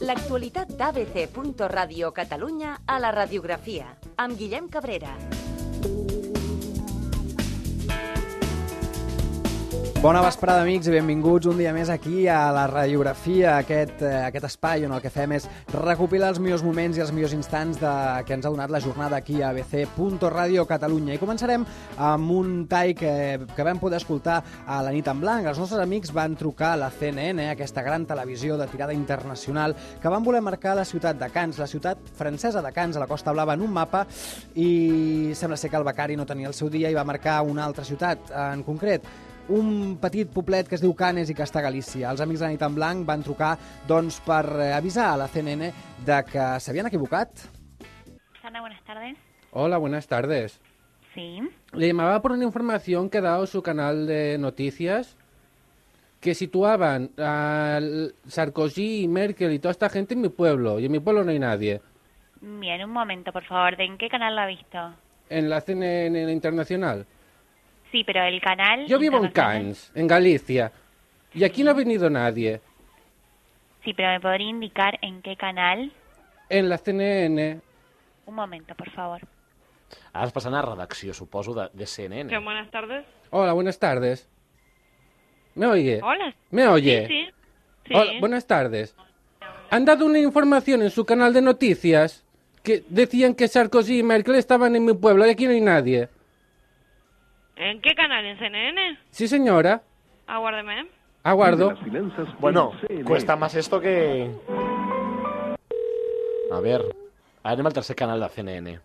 L'actualitat d'ABC.Radio Catalunya a la radiografia, amb Guillem Cabrera. Bona vesprada, amics, i benvinguts un dia més aquí a la radiografia, aquest, eh, aquest espai on el que fem és recopilar els millors moments i els millors instants de, que ens ha donat la jornada aquí a abc.radio Catalunya. I començarem amb un tall que, que vam poder escoltar a la nit en blanc. Els nostres amics van trucar a la CNN, aquesta gran televisió de tirada internacional, que van voler marcar la ciutat de Cans, la ciutat francesa de Cans, a la Costa Blava, en un mapa, i sembla ser que el becari no tenia el seu dia i va marcar una altra ciutat en concret un petit poblet que es diu Canes i que està a Galícia. Els amics de la nit en blanc van trucar doncs, per eh, avisar a la CNN de que s'havien equivocat. Sandra, buenas tardes. Hola, buenas tardes. Sí. Le llamaba por una información que ha dado su canal de noticias que situaban a Sarkozy y Merkel y toda esta gente en mi pueblo. Y en mi pueblo no hay nadie. Bien, un momento, por favor. ¿De en qué canal lo ha visto? En la CNN internacional. Sí, pero el canal... Yo vivo en internacional- Cannes, en Galicia. Y aquí no ha venido nadie. Sí, pero me podría indicar en qué canal. En la CNN. Un momento, por favor. Ara has passat a redacció, suposo, de, de CNN. Pero buenas tardes. Hola, buenas tardes. ¿Me oye? Hola. ¿Me oye? Sí, sí. Sí. Hola, buenas tardes. Han dado una información en su canal de noticias que decían que Sarkozy y Merkel estaban en mi pueblo y aquí no hay nadie. ¿En qué canal? ¿En CNN? Sí, señora. Aguárdeme. Aguardo. Bueno, cuesta más esto que... A ver, ara anem al tercer canal de CNN.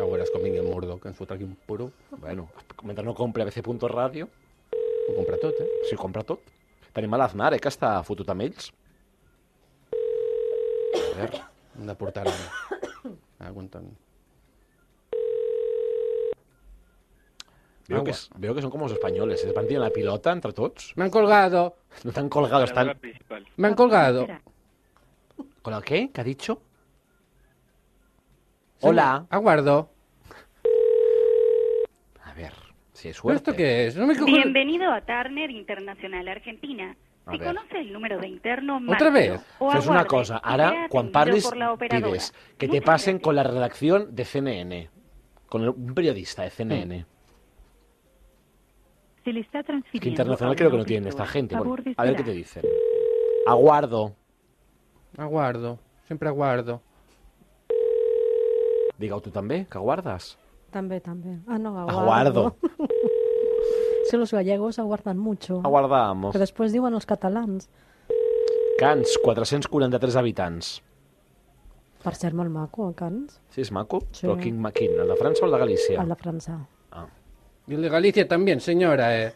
Ahora es con Miguel Murdo, que ens fot aquí un puro. Bueno, mentre no compri ABC.radio, Ho compra tot, eh? si ho compra tot. Tenim a l'Aznar, eh, que està fotut amb ells. A veure, Hem de portar ara. Aguanta'm. veo Agua. que, es, veo que són com els espanyoles, eh? es van tirant la pilota entre tots. Me han colgado. No tan colgados, están... Me han colgado. ¿Con la qué? ¿Qué ha dicho? Hola. Aguardo. A ver, si es ¿Pero suerte. esto qué es? No me cojo- Bienvenido a Turner Internacional Argentina. A Si ver. conoce el número de interno, ¿Otra márquelo vez? o Fes una aguarde cosa, y será ara, quan atendido parlis, por la operadora. pides que te Muchas pasen gracias. con la redacción de CNN. Con el- un periodista de CNN. Se le está Es transfiriendo. que internacional a creo una que no tienen esta operadora. gente. Bueno, Favor de a ver qué esperar. te dicen. Aguardo. Aguardo. Sempre aguardo. Diga tú también, que aguardas. També, també. Ah, no, aguardo. Aguardo. Sí, los gallegos aguardan mucho. Aguardamos. Que després diuen els catalans. Cans, 443 habitants. Per ser molt maco, a Cans, Sí, és maco? Sí. Però quin, ma- quin? El de França o el de Galícia? el de França. Ah. Y el de Galicia también, señora, eh.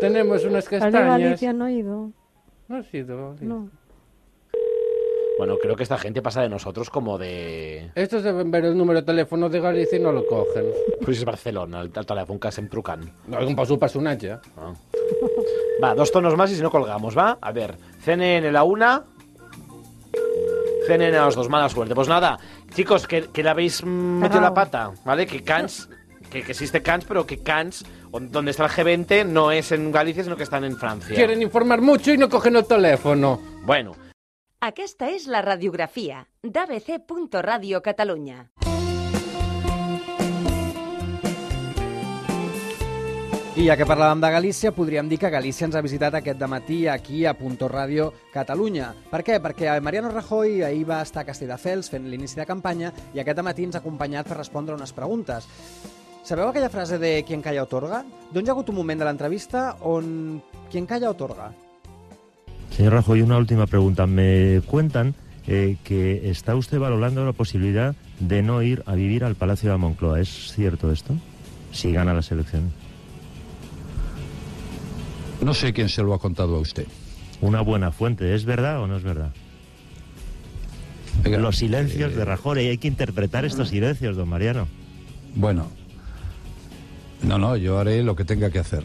Tenemos unas El de castañas. Galicia no he ido. No ha sido. No. Bueno, creo que esta gente pasa de nosotros como de... Estos deben ver el número de teléfono de Galicia y no lo cogen. Pues és Barcelona, el, el telèfon que estem trucant. No, és un passo personatge. Ah. Va, dos tonos más y si no colgamos, ¿va? A ver, CNN la una, CNN a los dos, mala suerte. Pues nada, chicos, que, que le habéis mm, metido la Cagao. pata, ¿vale? Que Cans, que, que existe Cans, pero que Cans, on- donde está el G20, no es en Galicia, sino que están en Francia. Quieren informar mucho y no cogen el teléfono. Bueno, Aquesta és la radiografia d'ABC.Radio Catalunya. I ja que parlàvem de Galícia, podríem dir que Galícia ens ha visitat aquest dematí aquí a Punto Ràdio Catalunya. Per què? Perquè Mariano Rajoy ahir va estar a Castelldefels fent l'inici de campanya i aquest matí ens ha acompanyat per respondre unes preguntes. Sabeu aquella frase de «Quien calla otorga»? Doncs hi ha hagut un moment de l'entrevista on «Quien calla otorga». Señor Rajoy, una última pregunta. Me cuentan eh, que está usted valorando la posibilidad de no ir a vivir al Palacio de la Moncloa. ¿Es cierto esto? Si gana las elecciones. No sé quién se lo ha contado a usted. Una buena fuente. ¿Es verdad o no es verdad? Venga, Los silencios eh, de Rajoy. Hay que interpretar estos silencios, don Mariano. Bueno, no, no, yo haré lo que tenga que hacer.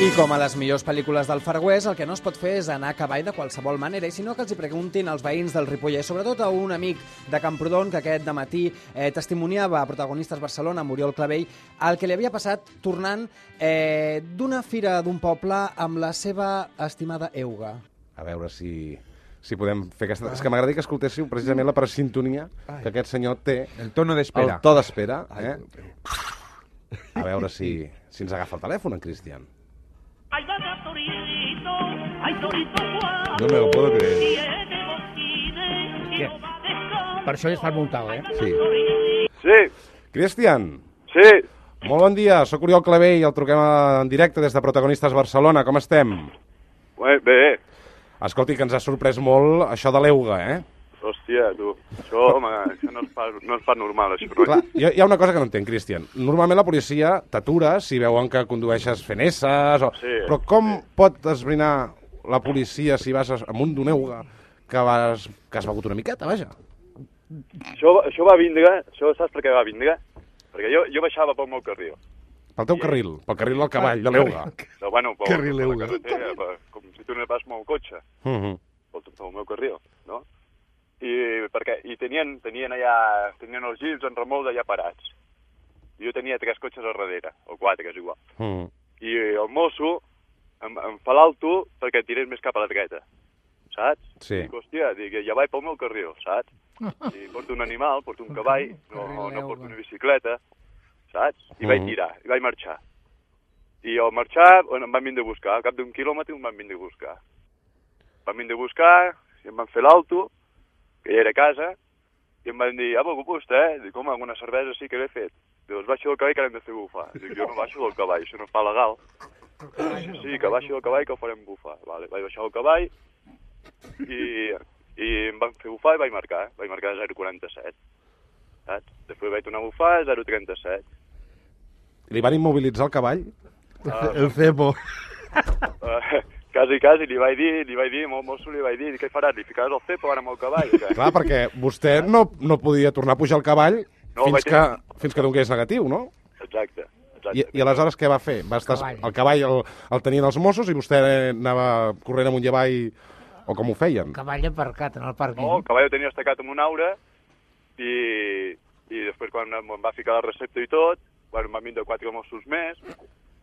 I com a les millors pel·lícules del Far West, el que no es pot fer és anar a cavall de qualsevol manera, i sinó que els hi preguntin als veïns del Ripollès, sobretot a un amic de Camprodon que aquest de matí eh, testimoniava a Protagonistes Barcelona, amb Oriol Clavell, el que li havia passat tornant eh, d'una fira d'un poble amb la seva estimada Euga. A veure si, si podem fer aquesta... És que m'agradaria que escoltéssiu precisament la presintonia que aquest senyor té. El tono d'espera. El to d'espera. Eh? A veure si, si ens agafa el telèfon, en Cristian. No me lo puedo creer. Per això estàs multat, eh? Sí. Sí. Cristian. Sí. Molt bon dia, sóc Oriol Clavell, el truquem en directe des de Protagonistes Barcelona. Com estem? Bé, bé. Escolti, que ens ha sorprès molt això de l'EUGA, eh? Hòstia, tu. Això, home, això no es fa, no es fa normal, això. No? Clar, hi ha- hi ha una cosa que no entenc, Cristian. Normalment la policia t'atura si veuen que condueixes fent esses, o... Sí, però com pot esbrinar la policia si vas a- amunt d'un euga que, vas, que has begut una miqueta, vaja? Això, això va vindre, això saps per què va vindre? Perquè jo, jo baixava pel meu carril. Pel teu carril, pel carril del cavall, de l'euga. No, bueno, pel, Carril per Euga. la carretera, per, com si tu no vas amb el cotxe, Mhm. pel, pel meu carril, no? I, perquè, i tenien, tenien allà, tenien els jeeps en remolc allà parats. I jo tenia tres cotxes al darrere, o quatre, que és igual. Mhm. i el mosso em, em fa l'alto perquè tirés més cap a la dreta, saps? Sí. Dic, hòstia, dic, ja vaig pel meu carril, saps? I porto un animal, porto un cavall, no, no porto una bicicleta, saps? I vaig Mhm. tirar, i vaig marxar. I al marxar on em van vindre a buscar, al cap d'un quilòmetre em van vindre a buscar. Em van vindre a buscar, i em van fer l'alto, que ja era a casa, i em van dir, ha begut vostè, eh? Dic, home, alguna cervesa sí que l'he fet. Dius, baixo del cavall que l'hem de fer bufar. Dic, jo no baixo del cavall, això no es fa legal. Això sí, que baixo del cavall que ho farem bufar. Vale, vaig baixar del cavall i, i em van fer bufar i vaig marcar. eh? Vaig marcar 0,47. Saps? Després vaig tornar a bufar 0,37. Li van immobilitzar el cavall? Ah. El cebo. Uh, quasi, quasi, li vaig dir, li vaig dir, molt mosso li vaig dir, què faràs, li ficaràs el cepo ara amb el cavall? o què?" Clar, perquè vostè no, no podia tornar a pujar el cavall No, fins, vaig que, tenir- fins que donés negatiu, no? Exacte, exacte. I, I aleshores què va fer? Va estar, Cavall. El cavall el, el tenien els Mossos i vostè eh, anava corrent amunt i avall o com ho feien? Cavall aparcat en el pàrquing. No, el cavall ho tenia estacat amb un aura i, i després quan em va ficar la recepta i tot, bueno, em van vindre quatre Mossos més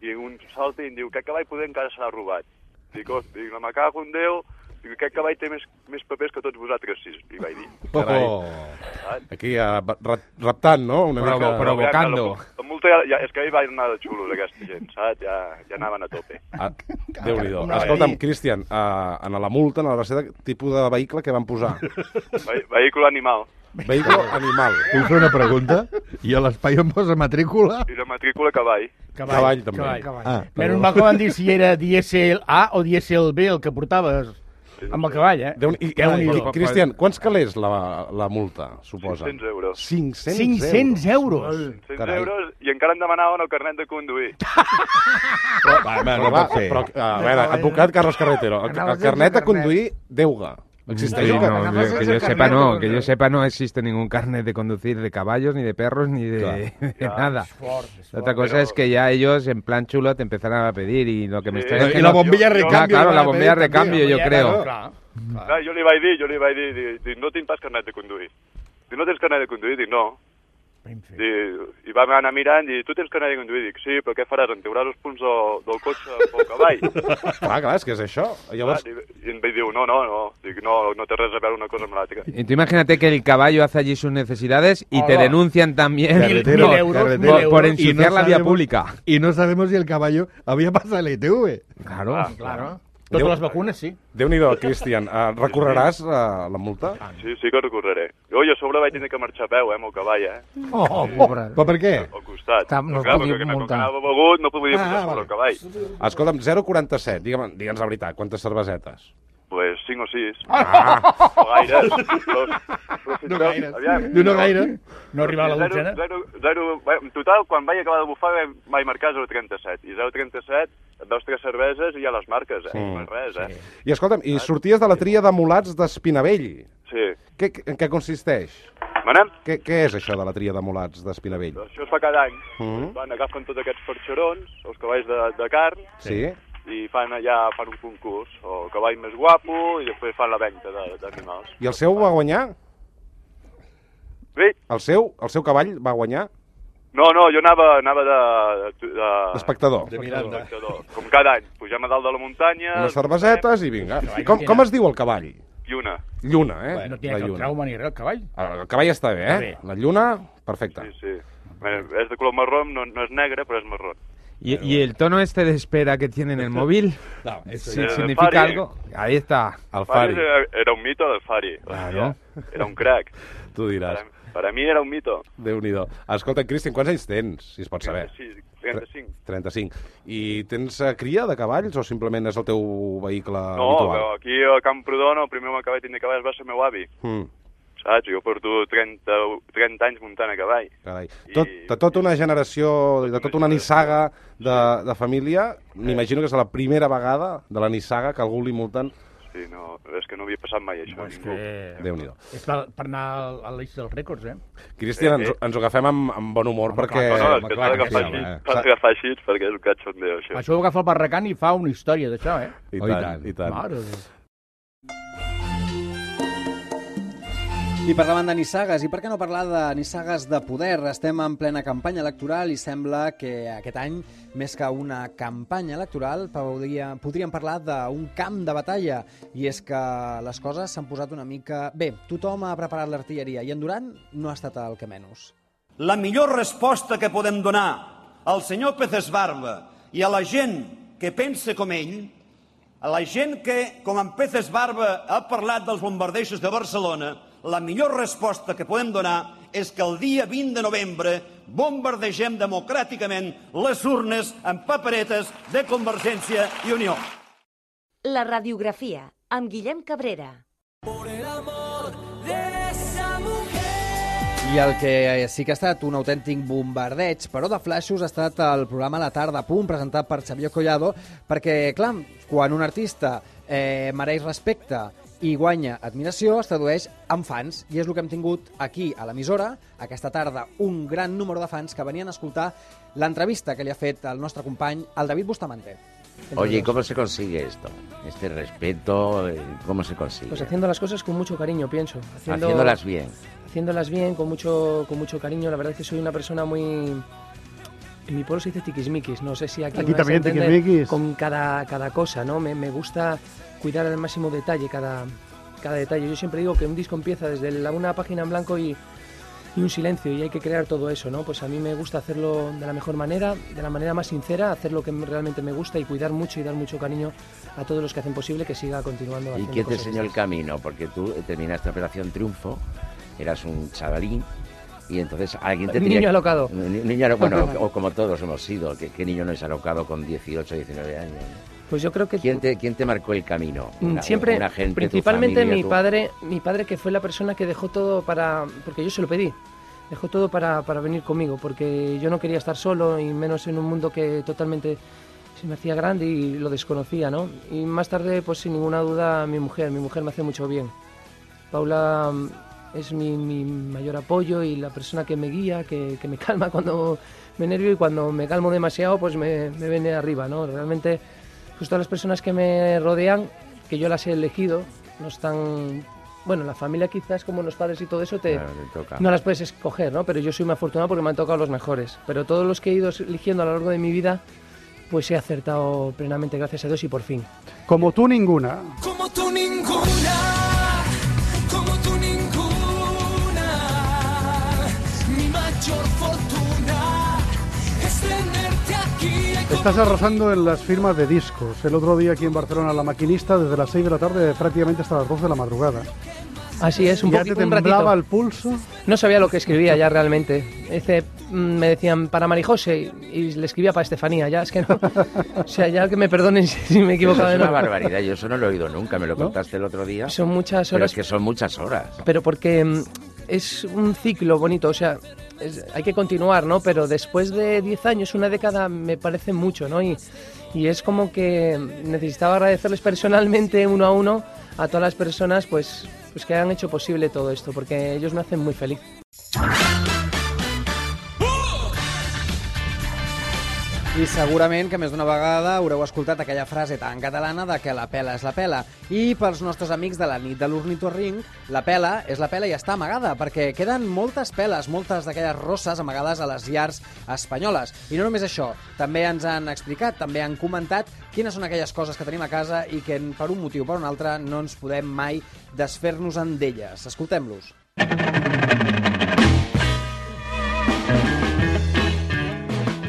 i un salta i em diu que cavall poder encara serà robat. Dic, "Hosti", dic no me cago en Déu, dic, aquest cavall té més, més papers que tots vosaltres sis, li vaig dir. Carai. Aquí eh, ra- raptant, no? Una Però- mica... però, mira, que la- La multa ja, ja, és que ahir va anar de xulos, aquesta gent, saps? Ja, ja anaven a tope. Ah, Déu-n'hi-do. Carai. Escolta'm, Cristian, eh, en la multa, en la receta, tipus de vehicle que van posar? Ve vehicle animal. Vehicle animal. Vull fer una pregunta? I a l'espai on posa matrícula? I la matrícula cavall. Cavall, també. Ah, Menys mal que van dir si era dièsel A o dièsel B el que portaves amb el cavall, eh? Déu I, Déu Ah, n'hi i, do. Cristian, quants calés la, la multa, suposa? 500 euros. 500, 500 euros. 100 Carai. euros i encara em demanaven el carnet de conduir. Va, home, però, no va, pot ser. però, a veure, advocat Carlos Carretero, el, el Anaves carnet de sense carnet. conduir d'euga. Existeix Sí, el no, carnet? que- que yo sepa no, que yo sepa no existe ningún carnet de conducir de caballos, ni de perros, ni de, de nada. Ah, La otra cosa es que ya ellos en plan chulo te empezaran a pedir y lo que me Y extraña es que la no- bombilla Ah, recambio Claro, van la a bombilla pedir recambio también. yo Bombilla, creo. claro. Clar, jo li vaig dir, jo li vaig dir, dic, dic, no tinc pas carnet de conduir. Dic, no tens carnet de conduir? Dic, no. Dic, I vam anar mirant i tu tens carnet de conduir? Dic, sí, però què faràs? Em trauràs els punts del, del cotxe pel cavall? Clar, clar, és que és això. Llavors, Clar, Ah, I em vaig dir, no, no, no. Dic, no, no té res a veure una cosa amb l'altra. Y tú imagínate que el caballo hace allí sus necesidades y te Hola. denuncian también Carretero, por, euros, por- mil euros. por Y no ensuciar la vía sabemos- pública. Y no sabemos si el caballo había pasado E la ITV. Claro. Claro. Ah, Déu- Totes les vacunes, sí. Déu-n'hi-do, Cristian. Uh, recorreràs uh, la multa? Sí, sí que recorreré. Jo, i a sobre vaig tenir que marxar a peu, eh, amb el cavall, eh? Oh, pobre. Però per què? Al costat. Tam- no es Clar, podia perquè com que multar. anava begut, no podia Ah, posar vale. sobre el cavall. Escolta'm, 0,47. Digue'm, digue'ns la veritat, quantes cervesetes? Pues 5 o 6. Ah. No gaires. Però, però fins No i tot, gaires. aviam. No, no gaire. No arribava a la Zero- dotzena. Zero, zero, bueno, en total, quan vaig acabar de bufar, vam- vaig marcar 0,37. I 0,37, dos, tres cerveses i ja les marques, eh? Sí. No és res, eh? I escolta'm, i sorties de la tria de mulats d'Espinavell. Sí. Què, què- en què consisteix? Manem? Què, què és això de la tria de mulats d'Espinavell? Això es Doncs fa cada any. Doncs, Mm? Van, agafen tots aquests perxerons, els cavalls de, de carn, Sí? i fan allà fan un concurs, o el cavall més guapo, i després fan la venda de- d'animals. I el seu va guanyar? Bé. El seu, el seu cavall va guanyar? No, no, jo anava, anava de... de, de D'espectador. De Miranda. Com cada any, pugem a dalt de la muntanya... Unes cervesetes eh, i vinga. I com, com es diu el cavall? Lluna. Lluna, eh? Bueno, no tiene cap trauma ni res, el cavall. El cavall està bé, eh? Està La lluna, perfecta. Sí, sí. Bé, Eh, és de color marró, no, no és negre, però és marró. Y, y el tono este de espera que tiene en el móvil, No, eso si ya- significa Fari. algo. eh. Ahí está. Fari era- Era un mito del Fari. Claro. Era un crack. Tu diràs. Para mi era un mito. Déu-n'hi-do. Escolta, Cristian, quants anys tens, si es pot saber? Sí, 35. 35. I tens eh, cria de cavalls o simplement és el teu vehicle No, habitual? però aquí a Camprodon el primer home que vaig tenir cavalls va ser meu avi, Mm, saps? Jo porto 30, 30 anys muntant a cavall. carai. Tot, de tota una generació, de tota una nissaga de, de família, m'imagino que és la primera vegada de la nissaga que algú li multen. Sí, no, és que no havia passat mai això. És que... Déu-n'hi-do. És per, per anar al, a l'eix dels rècords, eh? Cristian, Eh, ens, eh. ens ho agafem amb, amb bon humor perquè... No, no, és que Home, s'ha d'agafar sí, així, home. s'ha d'agafar així perquè és un cachondeo, això. Això ho agafa el Barracant i fa una història d'això, eh? I tant, i tant. Mare de Déu. I parlant de nissagues, i per què no parlar de nissagues de poder? Estem en plena campanya electoral i sembla que aquest any, més que una campanya electoral, podria, podríem parlar d'un camp de batalla. I és que les coses s'han posat una mica... Bé, tothom ha preparat l'artilleria i en Duran no ha estat el que menys. La millor resposta que podem donar al senyor Pecesbarba i a la gent que pensa com ell, a la gent que, com en Pecesbarba, ha parlat dels bombardeixos de Barcelona, la millor resposta que podem donar és que el dia 20 de novembre bombardegem democràticament les urnes amb paperetes de Convergència i Unió. La radiografia amb Guillem Cabrera. I el que eh, sí que ha estat un autèntic bombardeig, però de flaixos, ha estat el programa La Tarda a Punt, presentat per Xavier Collado, perquè, clar, quan un artista eh, mereix respecte i guanya admiració, es tradueix en fans, i és el que hem tingut aquí, a l'emissora, aquesta tarda, un gran número de fans que venien a escoltar l'entrevista que li ha fet el nostre company, el David Bustamante. Oye, ¿y ¿cómo se consigue esto? Este respeto, eh, ¿cómo se consigue? Pues haciendo las cosas con mucho cariño, pienso. Haciendo- Haciéndolas bien. Haciéndolas bien, con mucho, con mucho cariño. La verdad es que soy una persona muy... En mi pueblo se dice tiquismiquis, no sé si aquí, Aquí me vais a también entender tiquismiquis. Con cada, cada cosa, ¿no? Me, me gusta cuidar al máximo detalle cada, cada detalle. Yo siempre digo que un disco empieza desde la- una página en blanco y, y un silencio y hay que crear todo eso, ¿no? Pues a mí me gusta hacerlo de la mejor manera, de la manera más sincera, hacer lo que realmente me gusta y cuidar mucho y dar mucho cariño a todos los que hacen posible que siga continuando ¿Y haciendo quién te cosas enseñó así. el camino? Porque tú eh, terminaste Operación Triunfo, eras un chavalín, y entonces alguien te Un tenía... niño alocado. Ni- niño alo- bueno, o como todos hemos sido, que qué niño no es alocado con 18, 19 años? Pues yo creo que... ¿Quién te, quién te marcó el camino? Mm, Una- siempre una gente, tu principalmente familia, mi tu- padre mi padre que fue la persona que dejó todo para porque yo se lo pedí dejó todo para, para venir conmigo porque yo no quería estar solo y menos en un mundo que totalmente se me hacía grande y lo desconocía no y más tarde pues sin ninguna duda mi mujer mi mujer me hace mucho bien Paula mm, es mi, mi mayor apoyo y la persona que me guía, que, que me calma cuando me nervio y cuando me calmo demasiado, pues me, me viene arriba, ¿no? Realmente, justo a las personas que me rodean, que yo las he elegido, no están... Bueno, la familia quizás, como los padres y todo eso, te, Claro, te toca. no las puedes escoger, ¿no? Pero yo soy muy afortunado porque me han tocado los mejores. Pero todos los que he ido eligiendo a lo largo de mi vida, pues he acertado plenamente, gracias a Dios, y por fin. Como tú ninguna. Como tú ninguna, como tú ninguna. Mi mayor fortuna es tenerte aquí. Estás arrasando en las firmas de discos. El otro día aquí en Barcelona, la maquinista, desde las 6 de la tarde prácticamente hasta las 2 de la madrugada. Así es, un ¿Ya poquito, te un ratito. temblaba el pulso? No sabía lo que escribía ya realmente. Ese, mm, me decían para Marijose y, y le escribía para Estefanía. Ya es que no. O sea, ya que me perdonen si, si me he equivocado. de Eso Es una nombre. barbaridad, yo eso no lo he oído nunca, me lo contaste el otro día. Son muchas Pero horas. es que son muchas horas. Pero porque mm, es un ciclo bonito, o sea, es- hay que continuar, ¿no? Pero después de 10 años, una década, me parece mucho, ¿no? Y, y es como que necesitaba agradecerles personalmente, uno a uno, a todas las personas, pues, pues que han hecho posible todo esto, porque ellos me hacen muy feliz. I segurament que més d'una vegada haureu escoltat aquella frase tan catalana de que la pela és la pela. I pels nostres amics de la nit de l'Ornitorrinc, la pela és la pela i està amagada, perquè queden moltes peles, moltes d'aquelles rosses amagades a les llars espanyoles. I no només això, també ens han explicat, també han comentat quines són aquelles coses que tenim a casa i que per un motiu o per un altre no ens podem mai desfer-nos en d'elles. Escoltem-los.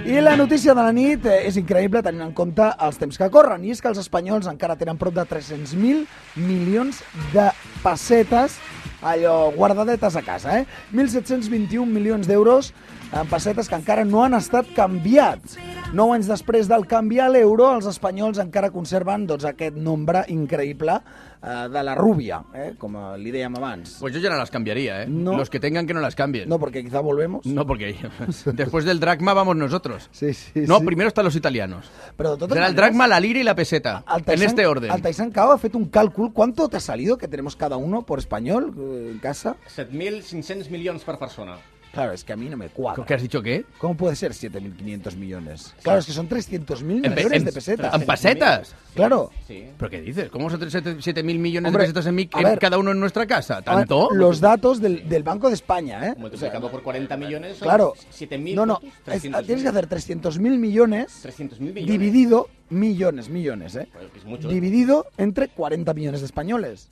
I la notícia de la nit eh, és increïble tenint en compte els temps que corren, i és que els espanyols encara tenen prop de 300.000 milions de pessetes allò guardadetes a casa, eh? 1.721 milions d'euros en pessetes que encara no han estat canviats. Nou anys després del canvi a l'euro, els espanyols encara conserven doncs, aquest nombre increïble eh, de la rúbia, eh? com eh, li dèiem abans. Pues yo ya no las cambiaría, ¿eh? No. Los que tengan que no las cambien. No, porque quizá volvemos. No, porque después del dracma vamos nosotros. Sí, sí, No, primero están los italianos. Pero de todas Será el maneras- dracma, la lira y la peseta. Al En Taisán- este orden. Al Taisán Cao ha fet un càlcul. ¿Cuánto te ha salido que tenemos cada uno por español eh, en casa? 7.500 milions per persona. Claro, es que a mí no me cuadra. ¿Qué has dicho qué? ¿Cómo puede ser 7.500 millones? Claro, es que son 300.000 En pe- millones en- de pesetas. ¿En pesetas? Claro. ¿Pero qué dices? ¿Cómo son 7 mil millones Hombre, de pesetas en, mi- a en ver. cada uno en nuestra casa? A ver, ¿Tanto? Ah, los datos del, del Banco de España, ¿eh? Multiplicado por 40 millones son Claro. 7.000. No, no. ¿cuántos? es- 300.000. tienes que hacer 300.000 millones, 300.000 millones. Pues, dividido millones, millones, ¿eh? Es mucho. dividido entre 40 millones de españoles.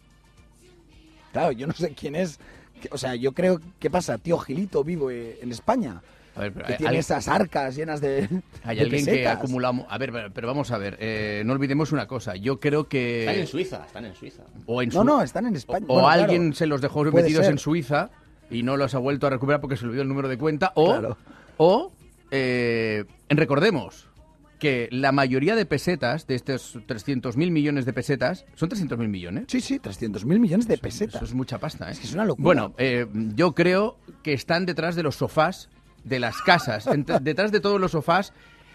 Claro, yo no sé quién es. que- O sea, yo creo que pasa, tío Gilito vivo eh, en España. A ver, pero que hay- tiene hay- esas arcas llenas de. Hay de alguien que pesetas. acumulamos. A ver, pero- pero vamos a ver. eh, no olvidemos una cosa. Yo creo que. Están en Suiza, están en Suiza. O en No, Su- no, están en España. O Bueno, claro. alguien se los dejó Puede metidos ser. en Suiza y no los ha vuelto a recuperar porque se le olvidó el número de cuenta. O, o eh, recordemos que la mayoría de pesetas, de estos 300.000 millones de pesetas, son 300.000 millones. Sí, sí, 300.000 millones de pesetas. Eso es mucha pasta, ¿eh? Es que es una locura. Bueno, eh, yo creo que están detrás de los sofás, de las casas, ent- detrás de todos los sofás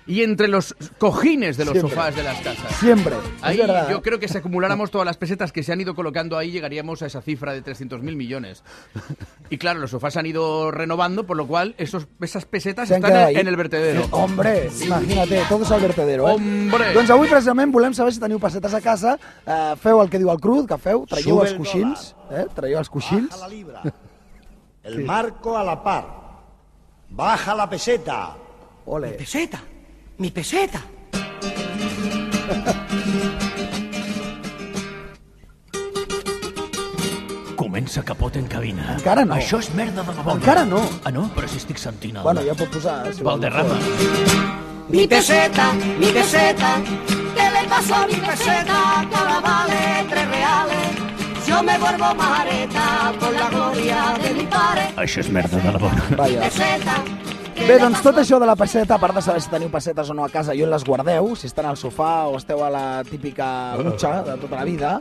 y entre los cojines de los Siempre. sofás de las casas. Siempre. Es Ahí verdad. ¿eh? yo creo que si acumuláramos todas las pesetas que se han ido colocando ahí, llegaríamos a esa cifra de 300.000 millones. Y claro, los sofás se han ido renovando, por lo cual esos, esas pesetas Se han están quedat ahí. Ah, en el vertedero. Hombre, imagina't, tot és al vertedero, eh? Hombre! Doncs avui, precisament, volem saber si teniu pessetes a casa. Eh, feu el que diu el Cruz, que feu, traieu Sube els el coixins, eh? Traieu els coixins. Baja la libra. El marco a la par. Baja la peseta. Ole. Mi peseta. Mi peseta. Comença capot en cabina. Encara no. Això és merda de la bona. Encara no. Ah, no? Però si estic sentint el... Bueno, ja pot posar... eh, Si vol. Valderrama. Mi peseta, mi peseta, ¿qué le pasó a mi peseta? Que ahora vale tres reales. Yo me vuelvo mareta por la gloria de mi padre. Això és merda de la bona. Vaja. Peseta, Bé, doncs tot això de la pesseta, a part de saber si teniu pessetes o no a casa i on les guardeu, si estan al sofà o esteu a la típica dutxa de tota la vida,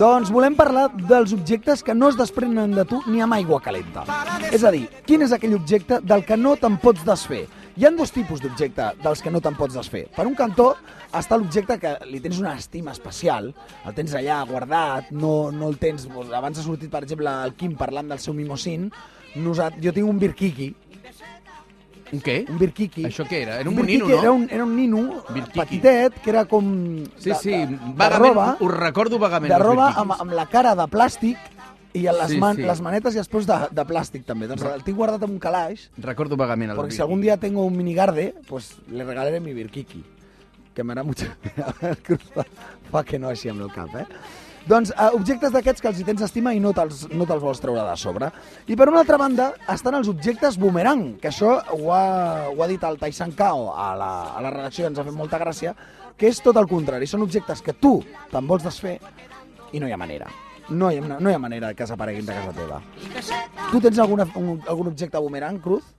doncs volem parlar dels objectes que no es desprenen de tu ni amb aigua calenta. És a dir, quin és aquell objecte del que no te'n pots desfer? Hi han dos tipus d'objecte dels que no te'n pots desfer. Per un cantó està l'objecte que li tens una estima especial, el tens allà guardat, no, no el tens... Doncs, abans ha sortit, per exemple, el Quim parlant del seu mimosín, Nosat, jo tinc un birquiqui, ¿Un qué? Un birquiqui. ¿Això qué era? Era un, Birquiqui nino, no? Era un, era un nino petitet, que era com... Sí, de- sí, de- de vagament, roba, ho recordo vagament. de els roba Birkikis. amb, amb la cara de plàstic i les, Sí, man, sí. les manetes i els peus de, de plàstic també. Doncs el tinc guardat en un calaix, Recordo vagament el perquè si Birkiki. algun dia tengo un minigarde, pues le regalaré mi birquiqui, que m'agrada mucho. A veure, Cruz, fa- fa que no així amb el cap, eh? Doncs eh, objectes d'aquests que els hi tens estima i no te'ls no te vols treure de sobre. I per una altra banda estan els objectes boomerang, que això ho ha, ho ha dit el Taishan Kao a la, a la redacció, ens ha fet molta gràcia, que és tot el contrari. Són objectes que tu te'n vols desfer i no hi ha manera. No hi ha, no hi ha manera que s'apareguin de casa teva. Tu tens alguna, un, algun objecte boomerang, Cruz?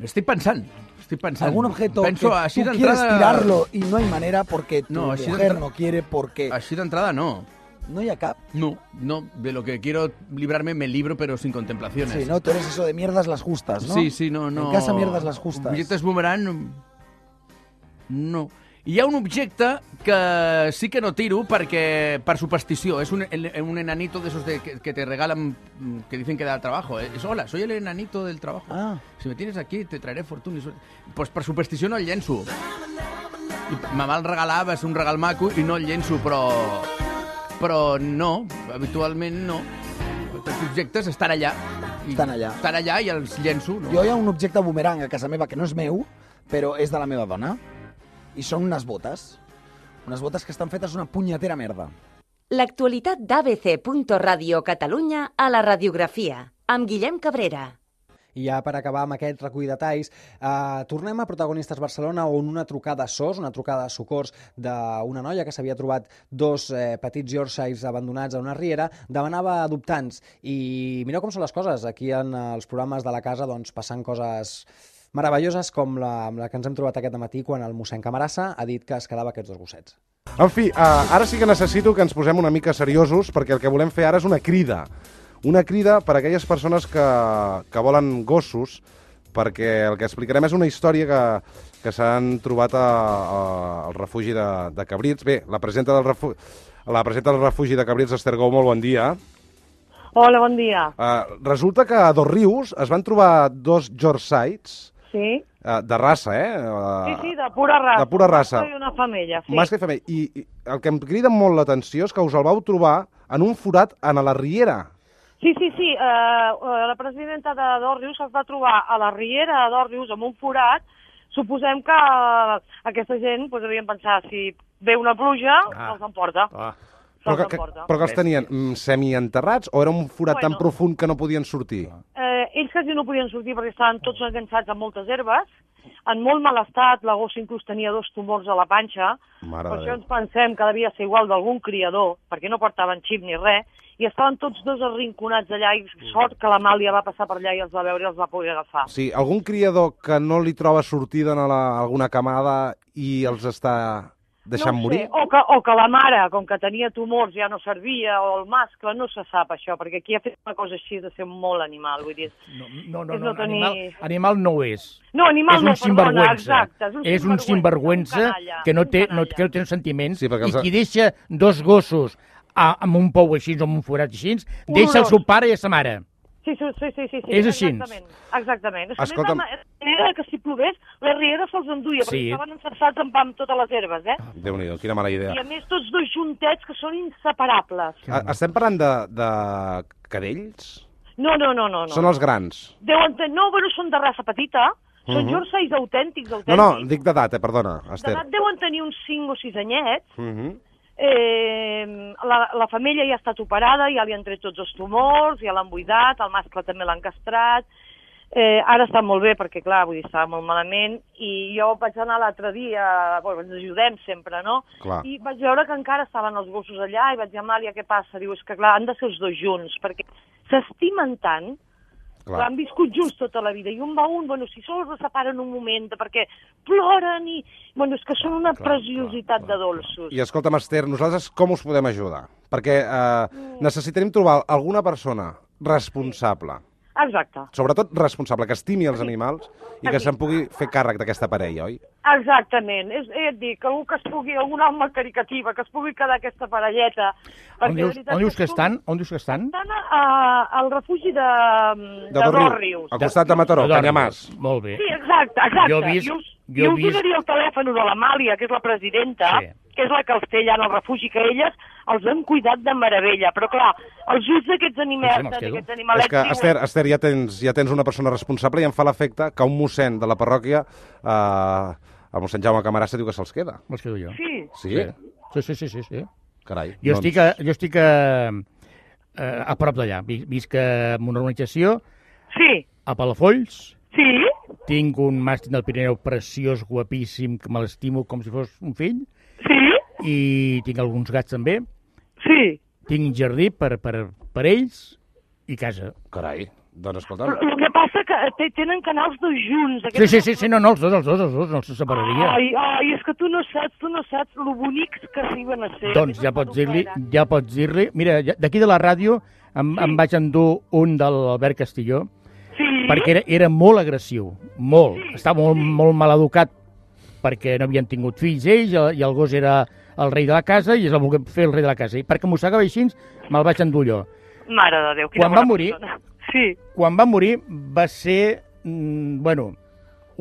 Estic pensant, estic pensant. Algún objeto Penso, que així tú d'entrada- quieres tirarlo y no hay manera porque tu No, així mujer d'entra- no quiere porque... Així d'entrada no. No hi ha cap. No, no, de lo que quiero librarme me libro pero sin contemplaciones. Sí, ¿no? Tú eres eso de mierdas las justas, ¿no? Sí, sí, no, no. En casa mierdas las justas. Billetes boomerang, no. Hi ha un objecte que sí que no tiro perquè per superstició. És un, el- un enanito de esos de, que, que te regalan, mm, que dicen que da trabajo. eh. Es, hola, soy el enanito del trabajo. Ah. Si me tienes aquí, te traeré fortuna. i suerte". Pues per superstició no el llenço. I me me'l regalava, és un regal maco, i no el llenço, però... Però no, habitualment no. Els objectes estan allà. I Estan allà. Estan allà i els llenço, no? Jo hi ha un objecte bumerang a casa meva que no és meu, però és de la meva dona. I són unes botes. Unes botes que estan fetes una punyetera merda. L'actualitat d'ABC.Radio Catalunya a la radiografia, amb Guillem Cabrera. I ja per acabar amb aquest recull de talls, eh, tornem a Protagonistes Barcelona on una trucada a SOS, una trucada a socors d'una noia que s'havia trobat dos eh, petits Yorkshires abandonats a una riera, demanava adoptants. I mireu com són les coses. Aquí en eh, els programes de la casa doncs, passen coses meravelloses com la, amb la que ens hem trobat aquest matí quan el mossèn Camarassa ha dit que es quedava aquests dos gossets. En fi, eh, ara sí que necessito que ens posem una mica seriosos perquè el que volem fer ara és una crida. Una crida per a aquelles persones que, que volen gossos perquè el que explicarem és una història que, que s'han trobat a, a, al refugi de, de Cabrits. Bé, la presenta del refugi, la presenta del refugi de Cabrits, Esther Gou, molt bon dia. Hola, bon dia. Uh, resulta que a Dos Rius es van trobar dos Yorksides Sí? uh, de raça, eh? Uh, Sí, sí, de pura raça. De pura raça. Soy una femella, sí. Mascle i femella. I, I el que em crida molt l'atenció és que us el vau trobar en un forat en la Riera. Sí, sí, sí. eh, eh, la presidenta de Dòrrius es va trobar a la riera de Dòrrius amb un forat. Suposem que eh, aquesta gent pues, devien pensar si ve una pluja, Ah. ah. se'ls emporta. Ah. Se'ls Però que, que, emporta. però que els tenien mm, semienterrats o era un forat bueno. tan Bueno. profund que no podien sortir? Eh, ells quasi no podien sortir perquè estaven tots enganxats a moltes herbes, en molt mal estat, la gossa inclús tenia dos tumors a la panxa, Mare per de això Déu. ens pensem que devia ser igual d'algun criador, perquè no portaven xip ni res, i estaven tots dos arrinconats allà, i sort que l'Amàlia va passar per allà i els va veure i els va poder agafar. Mm. Sí, algun criador que no li troba sortida en la, alguna camada i els està deixant no ho morir? Sé, o, que, o que la mare, com que tenia tumors, ja no servia, o el mascle, no se sap això, perquè aquí ha fet una cosa així de ser molt animal, vull dir... No, no, no, és no tenir- animal, animal no ho és. No, animal és un no, perdona, sinvergüenza. exacte, és un És un sinvergüenza, sinvergüenza un canalla, que no té, no, que no té sentiments. Sí, I els ha- qui deixa dos gossos a, amb un pou així o amb un forat així, deixa el seu pare i a sa mare. Sí, sí, sí, sí, sí, sí És així. Exactament, exactament. Escolta'm. Escolta'm... Era que si plovés, la riera se'ls enduia, sí. Sí. perquè estaven encerçats amb, amb totes les herbes, eh? Déu-n'hi-do, quina mala idea. I a més tots dos juntets que són inseparables. A, estem parlant de, de cadells? No, no, no, no. no. Són els grans. Deuen ten... No, bueno, són de raça petita, són uh Mhm. -huh. jorçais autèntics, autèntics. No, no, dic d'edat, eh, perdona, Esther. D'edat deuen tenir uns 5 o 6 anyets, Mm Eh, la, la femella ja ha estat operada, ja li han tret tots els tumors, ja l'han buidat, el mascle també l'han castrat. Eh, ara està molt bé perquè, clar, vull dir, estava molt malament i jo vaig anar l'altre dia, bueno, ens ajudem sempre, no? Ah. Clar. I vaig veure que encara estaven els gossos allà i vaig dir, Amàlia, què passa? Diu, és que, clar, han de ser els dos junts perquè s'estimen tant Clar. Clar. Han viscut junts tota la vida i un va un, bueno, si sols es separen un moment perquè ploren i... Bueno, és que són una preciositat de dolços. I escolta'm, Esther, nosaltres com us podem ajudar? Perquè eh, necessitarem trobar alguna persona responsable, Exacte. sobretot responsable, que estimi els animals i que se'n pugui fer càrrec d'aquesta parella, oi? Exactament, és, eh, et dic, algú que es pugui, algun home caricativa, que es pugui quedar aquesta parelleta. On de dius, veritat on dius que es estan? On dius que estan? Estan a, a, al refugi de, de, de Dosrius, Dosrius. Al costat de Mataró, De Dosrius. Canyamàs. Molt bé. Sí, exacte, exacte. Jo he vist- I us, jo he i us vist- donaria el telèfon de l'Amàlia, que és la presidenta, Sí. que és la que els té allà en el refugi, que elles els han cuidat de meravella. Però, clar, els ulls d'aquests Sí, Doncs animals, me'ls quedo. d'aquests És animalets... eh? que, diuen- Esther, Esther ja, tens, ja tens una persona responsable i em fa l'efecte que un mossèn de la parròquia, eh, el mossèn Jaume Camarassa, diu que se'ls queda. Me'ls quedo jo. Sí? Sí? Sí, sí, sí, sí. sí. Carai. Jo doncs- estic, a, jo estic a, a, a prop d'allà. Vi- Visc a una urbanització, sí. a Palafolls. Sí. Tinc un màstic del Pirineu preciós, guapíssim, que me l'estimo com si fos un fill. Sí. I tinc alguns gats també. Sí. Tinc jardí per, per, per ells i casa. Carai, doncs escolta'm... Però El que passa que te- tenen canals dos junts. Sí, aquests sí, sí, sí, no, no, els dos, els dos, els dos, no els separaria. Ai, ai, és que tu no saps, tu no saps lo bonics que arriben a ser. Doncs ja pots dir-li, ja pots dir-li... Mira, ja- d'aquí de la ràdio em, em vaig endur un de l'Albert Castilló, sí. perquè era, era molt agressiu, molt. Sí, Estava molt, sí. molt mal educat perquè no havien tingut fills ells, i el- i el gos era el rei de la casa, i es va voler fer el rei de la casa. I perquè mossegava així, me'l vaig endur jo. Mare de Déu, quina Quan va bona morir- persona. Sí. Quan va morir va ser, mm, bueno,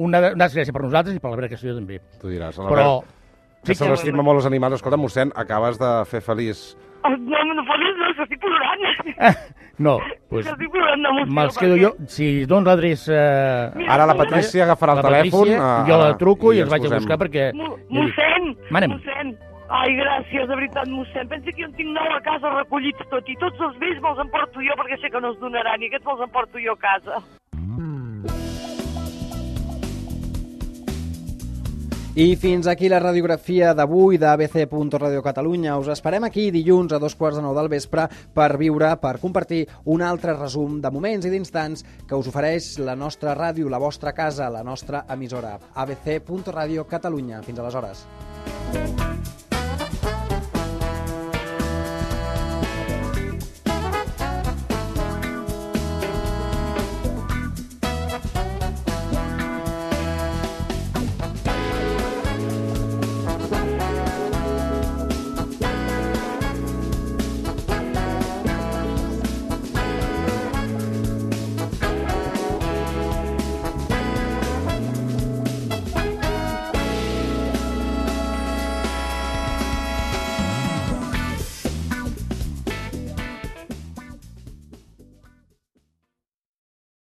una, una desgràcia per nosaltres i per la verga també. Tu diràs, a la Però... Però... Que se l'estima molt els animals. Escolta, mossèn, acabes de fer feliç. Oh, No, no posis, no, que estic plorant. No, pues, Que estic plorant d'emoció. me'ls quedo jo. Si dono l'adreça... Ara la Patrícia agafarà el la Patrícia, telèfon, ah, jo la truco i i, i els els vaig a posem. buscar perquè... Mo- Mossèn, Manem. mossèn. Ai, gràcies, de veritat, mossèn. Pensa que jo en tinc nou a casa recollits tot i tots els vells me'ls emporto jo perquè sé que no es donaran i aquests me'ls emporto jo a casa. I fins aquí la radiografia d'avui d'ABC.Radio Catalunya. Us esperem aquí dilluns a dos quarts de nou del vespre per viure, per compartir un altre resum de moments i d'instants que us ofereix la nostra ràdio, la vostra casa, la nostra emissora. ABC.Radio Catalunya. Fins aleshores.